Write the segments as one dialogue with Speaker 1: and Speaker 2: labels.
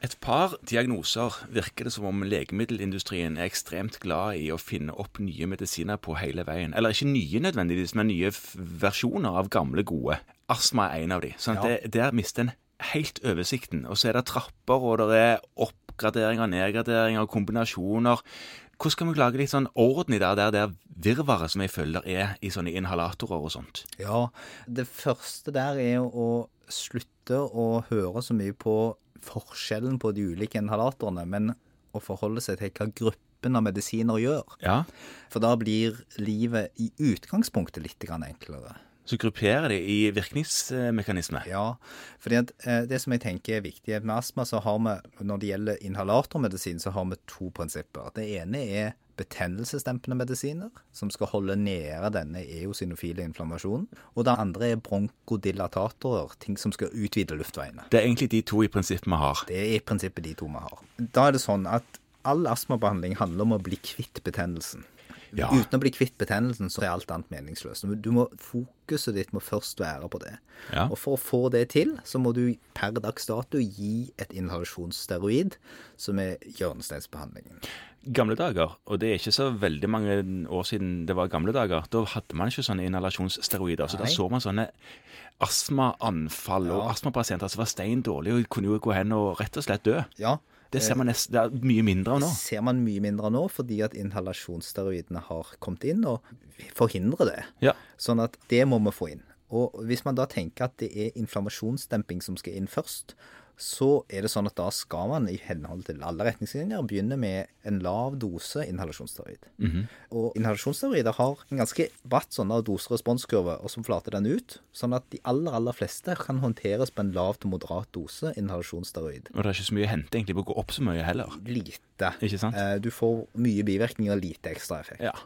Speaker 1: Et par diagnoser virker det som om legemiddelindustrien er ekstremt glad i å finne opp nye medisiner på hele veien. Eller ikke nye nødvendigvis, men nye f- versjoner av gamle, gode. Astma er en av de. Sånn at
Speaker 2: Ja.
Speaker 1: det, der mister en helt oversikten. Og så er det trapper, og det er oppgraderinger, nedgraderinger, og kombinasjoner. Hvordan skal vi lage litt sånn orden i det der, der virvaret som jeg føler er i sånne inhalatorer og sånt?
Speaker 2: Ja, det første der er jo å slutte å høre så mye på forskjellen på de ulike inhalatorene, men å forholde seg til hva gruppen av medisiner gjør.
Speaker 1: Ja.
Speaker 2: For da blir livet i utgangspunktet litt grann enklere.
Speaker 1: Så grupperer de i virkningsmekanisme.
Speaker 2: Ja, fordi at eh, det som jeg tenker er viktig med astma, så har vi, når det gjelder inhalatormedisin, så har vi to prinsipper. Det ene er betennelsesdempende medisiner, som skal holde nede denne eosinofile inflammasjonen. Og det andre er bronkodilatatorer, ting som skal utvide luftveiene.
Speaker 1: Det er egentlig de to i prinsippet vi har.
Speaker 2: Det er i prinsippet de to vi har. Da er det sånn at all astmabehandling handler om å bli kvitt betennelsen.
Speaker 1: Ja.
Speaker 2: Uten å bli kvitt betennelsen, så er alt annet meningsløst. Du må, fokuset ditt må først være på det.
Speaker 1: Ja.
Speaker 2: Og for å få det til, så må du per dags dato gi et inhalasjonssteroid, som er hjørnesteinsbehandlingen.
Speaker 1: gamle dager, og det er ikke så veldig mange år siden det var gamle dager, da hadde man ikke sånne inhalasjonssteroider. Så da
Speaker 2: Nei.
Speaker 1: så man sånne astmaanfall og astmapasienter som var stein dårlige og kunne jo gå hen og rett og slett dø.
Speaker 2: Ja,
Speaker 1: Det ser man nesten det er mye mindre av nå.
Speaker 2: ser man mye mindre nå, fordi at inhalasjonssteroidene har kommet inn og forhindrer det.
Speaker 1: Ja.
Speaker 2: Sånn at det må vi få inn. Og hvis man da tenker at det er inflammasjonsdemping som skal inn først, så er det sånn at da skal man i henhold til alle retningslinjer begynne med en lav dose inhalasjonsteroid. Og inhalasjonsteroider har en ganske bratt sånn doseresponskurve, og som flater den ut. Sånn at de aller, aller fleste kan håndteres på en lav til moderat dose inhalasjonsteroid.
Speaker 1: Og det er ikke så mye å hente egentlig på å gå opp så mye heller.
Speaker 2: Lite.
Speaker 1: Ikke sant?
Speaker 2: Eh, Du får mye bivirkninger, lite ekstra effekt.
Speaker 1: Ja.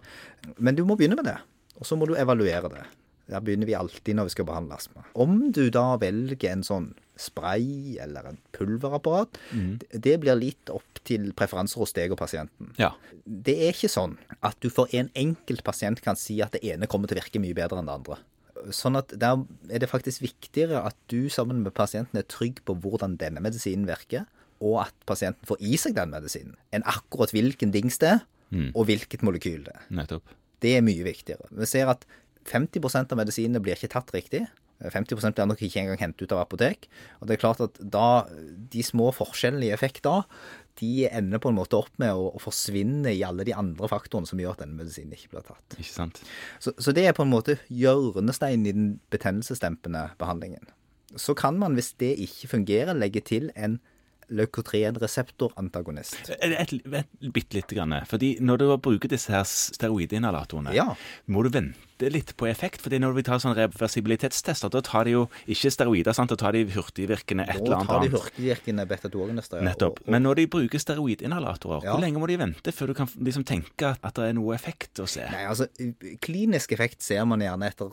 Speaker 2: Men du må begynne med det, og så må du evaluere det. Der begynner vi alltid når vi skal behandle astma. Om du da velger en sånn spray eller en pulverapparat,
Speaker 1: Mhm.
Speaker 2: d- det blir litt opp til preferanser hos deg og pasienten.
Speaker 1: Ja.
Speaker 2: Det er ikke sånn at du for en enkelt pasient kan si at det ene kommer til å virke mye bedre enn det andre. Sånn at der er det faktisk viktigere at du sammen med pasienten er trygg på hvordan denne medisinen virker, og at pasienten får i seg den medisinen, enn akkurat hvilken dings det er, og hvilket molekyl det er.
Speaker 1: Nettopp.
Speaker 2: Det er mye viktigere. Vi ser at 50 av medisinene blir ikke tatt riktig. 50 blir nok ikke engang hentet ut av apotek. Og det er klart at da, de små forskjellene i effekt da, de ender på en måte opp med å, å forsvinne i alle de andre faktorene som gjør at denne medisinen ikke blir tatt.
Speaker 1: Ikke sant.
Speaker 2: Så, så det er på en måte hjørnesteinen i den betennelsesdempende behandlingen. Så kan man, hvis det ikke fungerer, legge til en leukotrien-reseptorantagonist.
Speaker 1: Et, et, et bitte lite grann. Fordi når du bruker disse her steroidinhalatorene,
Speaker 2: Ja.
Speaker 1: må du vente litt på effekt. Fordi når vi tar sånn reversibilitetstester, da tar de jo ikke steroider, sant? da tar de hurtigvirkende et
Speaker 2: Nå
Speaker 1: eller annet
Speaker 2: tar de
Speaker 1: annet.
Speaker 2: hurtigvirkende beta-2-agonister. ja,
Speaker 1: Nettopp.
Speaker 2: og-
Speaker 1: Men når de bruker steroidinhalatorer,
Speaker 2: Ja.
Speaker 1: hvor lenge må de vente før du kan liksom tenke at det er noe effekt å se?
Speaker 2: Nei, altså, u- klinisk effekt ser man gjerne etter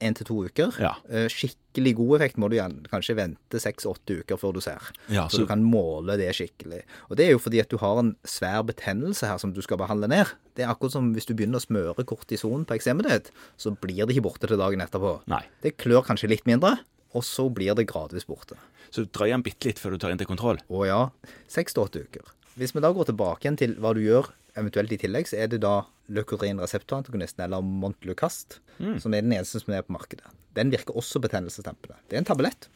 Speaker 2: én til to uker.
Speaker 1: Ja.
Speaker 2: Eh, Skikkelig god effekt må du gjerne kanskje vente seks-åtte uker før du ser.
Speaker 1: Ja,
Speaker 2: så...
Speaker 1: så-
Speaker 2: du kan måle det skikkelig. Og det er jo fordi at du har en svær betennelse her som du skal behandle ned. Det er akkurat som hvis du begynner å smøre kortison på eksemet ditt, så blir det ikke borte til dagen etterpå.
Speaker 1: Nei.
Speaker 2: Det klør kanskje litt mindre, og så blir det gradvis borte.
Speaker 1: Så drøy den bitte litt før du tar inn til kontroll.
Speaker 2: Å ja, seks til åtte uker. Hvis vi da går tilbake igjen til hva du gjør eventuelt i tillegg, så er det da leukorin-reseptorantagonisten, eller Montelukast, som er den eneste som er på markedet. Den virker også betennelsesdempende. Det er en tablett.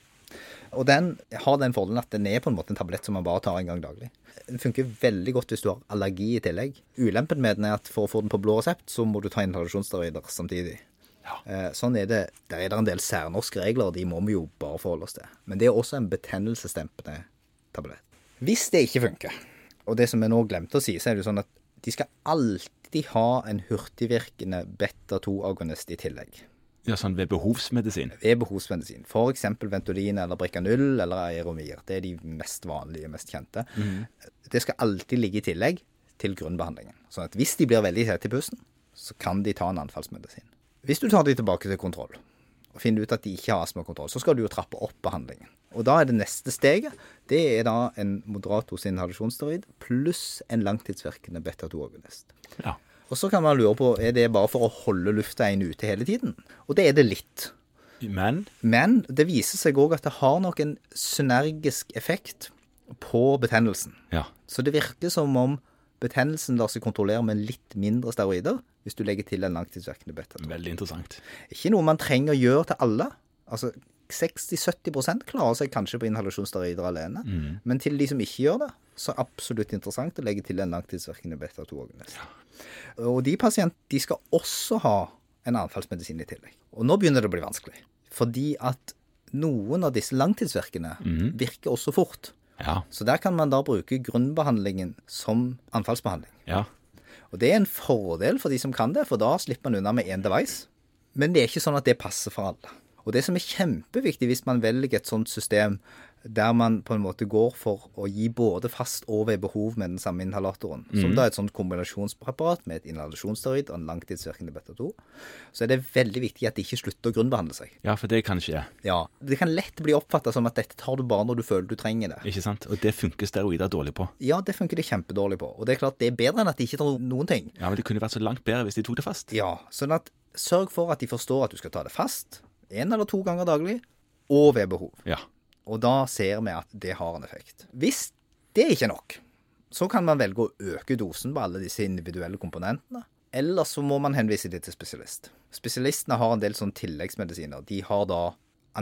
Speaker 2: Og den har den fordelen at den er på en måte en tablett som man bare tar en gang daglig. Den funker veldig godt hvis du har allergi i tillegg. Ulempen med den er at for å få den på blå resept, så må du ta inhalasjonssteroider samtidig.
Speaker 1: Ja.
Speaker 2: Eh, Sånn er det. Der er det en del særnorske regler, og de må vi jo bare forholde oss til. Men det er også en betennelsesdempende tablett. Hvis det ikke funker, og det som jeg nå glemte å si, så er det jo sånn at de skal alltid ha en hurtigvirkende beta-2-agonist i tillegg
Speaker 1: Ja, sånn ved behovsmedisin.
Speaker 2: ved behovsmedisin. F.eks. Ventolin eller Bricanyl eller Aeromir. Det er de mest vanlige, mest kjente. Det skal alltid ligge i tillegg til grunnbehandlingen. Sånn at hvis de blir veldig tette i pusten, så kan de ta en anfallsmedisin. Hvis du tar de tilbake til kontroll, og finner ut at de ikke har astmakontroll, så skal du jo trappe opp behandlingen. Og da er det neste steget, det er da en moderat dose inhalasjonsteroid pluss en langtidsvirkende beta-2-agonist.
Speaker 1: Ja.
Speaker 2: Og så kan man lure på, er det bare for å holde luftveien ute hele tiden? Og det er det litt.
Speaker 1: Men
Speaker 2: Men det viser seg òg at det har nok en synergisk effekt på betennelsen.
Speaker 1: Ja.
Speaker 2: Så det virker som om betennelsen lar seg kontrollere med litt mindre steroider hvis du legger til en langtidsvirkende beta.
Speaker 1: Veldig interessant.
Speaker 2: Ikke noe man trenger å gjøre til alle. Altså 60-70 klarer seg kanskje på inhalasjonssteroider alene, men til de som ikke gjør det, så er det absolutt interessant å legge til en langtidsvirkende beta-2-agonist. Og de pasientene de skal også ha en anfallsmedisin i tillegg. Og nå begynner det å bli vanskelig, fordi at noen av disse langtidsvirkende virker også fort.
Speaker 1: Ja.
Speaker 2: Så der kan man da bruke grunnbehandlingen som anfallsbehandling.
Speaker 1: Ja.
Speaker 2: Og det er en fordel for de som kan det, for da slipper man unna med én device. Men det er ikke sånn at det passer for alle. Og det som er kjempeviktig hvis man velger et sånt system der man på en måte går for å gi både fast og ved behov med den samme inhalatoren, som da er et sånt kombinasjonspreparat med et inhalasjonssteroid og en langtidsvirkende beta-2, så er det veldig viktig at de ikke slutter å grunnbehandle seg.
Speaker 1: ja, for det kan skje.
Speaker 2: Ja, Det kan lett bli oppfatta som at dette tar du bare når du føler du trenger det.
Speaker 1: Ikke sant? Og det funker steroider dårlig på.
Speaker 2: Ja, det funker det kjempedårlig på. Og det er klart det er bedre enn at de ikke tar noen ting.
Speaker 1: Ja, Men det kunne vært så langt bedre hvis de tok det fast.
Speaker 2: Ja, sånn at sørg for at de forstår at du skal ta det fast én eller to ganger daglig, og ved behov.
Speaker 1: Ja.
Speaker 2: Og da ser vi at det har en effekt. Hvis det ikke er nok, så kan man velge å øke dosen på alle disse individuelle komponentene. Eller så må man henvise det til spesialist. Spesialistene har en del sånn tilleggsmedisiner. De har da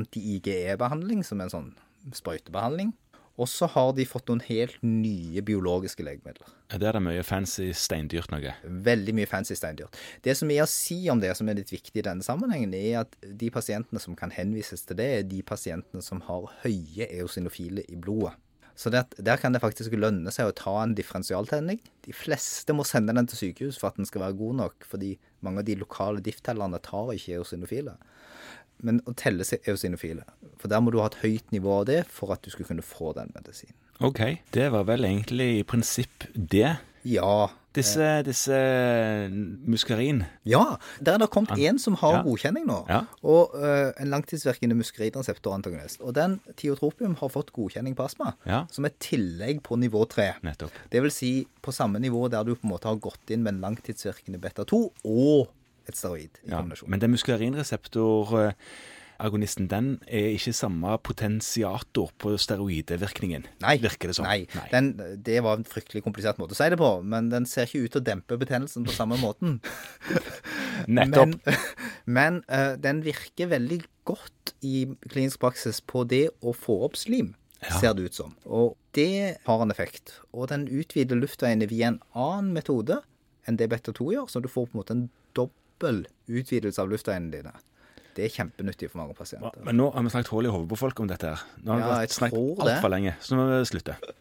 Speaker 2: anti-IGE-behandling, som er en sånn sprøytebehandling. Og så har de fått noen helt nye biologiske legemidler.
Speaker 1: Der er det mye fancy steindyrt noe.
Speaker 2: Veldig mye fancy steindyrt. Det som er å si om det, som er litt viktig i denne sammenhengen, er at de pasientene som kan henvises til det, er de pasientene som har høye eosinofile i blodet. Så det, at- der kan det faktisk lønne seg å ta en differensialtenning. De fleste må sende den til sykehus for at den skal være god nok, fordi mange av de lokale difftellerne tar ikke eosinofile. Men å telle seg eosinofile, for der må du ha et høyt nivå av det for at du skal kunne få den medisinen.
Speaker 1: OK. Det var vel egentlig i prinsipp det.
Speaker 2: Ja,
Speaker 1: Disse, disse muskarin
Speaker 2: Ja, der er det kommet én som har
Speaker 1: ja.
Speaker 2: godkjenning nå.
Speaker 1: Ja.
Speaker 2: Og eh, en langtidsvirkende muskerinreseptorantagonist. Og den tiotropium har fått godkjenning på astma,
Speaker 1: Ja.
Speaker 2: som et tillegg på nivå 3.
Speaker 1: Nettopp.
Speaker 2: Det vil si på samme nivå der du på en måte har gått inn med en langtidsvirkende beta-2 og et steroid i
Speaker 1: Ja,
Speaker 2: kombinasjon.
Speaker 1: men den muskularinreseptor-agonisten, den er ikke samme potensiator på steroidevirkningen.
Speaker 2: Nei,
Speaker 1: Virker det sånn? som.
Speaker 2: nei. Den, det var en fryktelig komplisert måte å si det på, men den ser ikke ut til å dempe betennelsen på samme måten.
Speaker 1: Nettopp.
Speaker 2: Men, men eh, den virker veldig godt i klinisk praksis på det å få opp slim,
Speaker 1: Ja.
Speaker 2: ser det ut som. Og det har en effekt. Og den utvider luftveiene via en annen metode enn det beta-2 gjør, så du får på en måte en dobbel utvidelse av luftveiene dine. Det er kjempenyttig for mange pasienter.
Speaker 1: Men nå har vi snakket hull i hodet på folk om dette her. Nå har
Speaker 2: Ja,
Speaker 1: vi
Speaker 2: jeg
Speaker 1: snakket
Speaker 2: tror det.
Speaker 1: altfor lenge, så nå må vi slutte.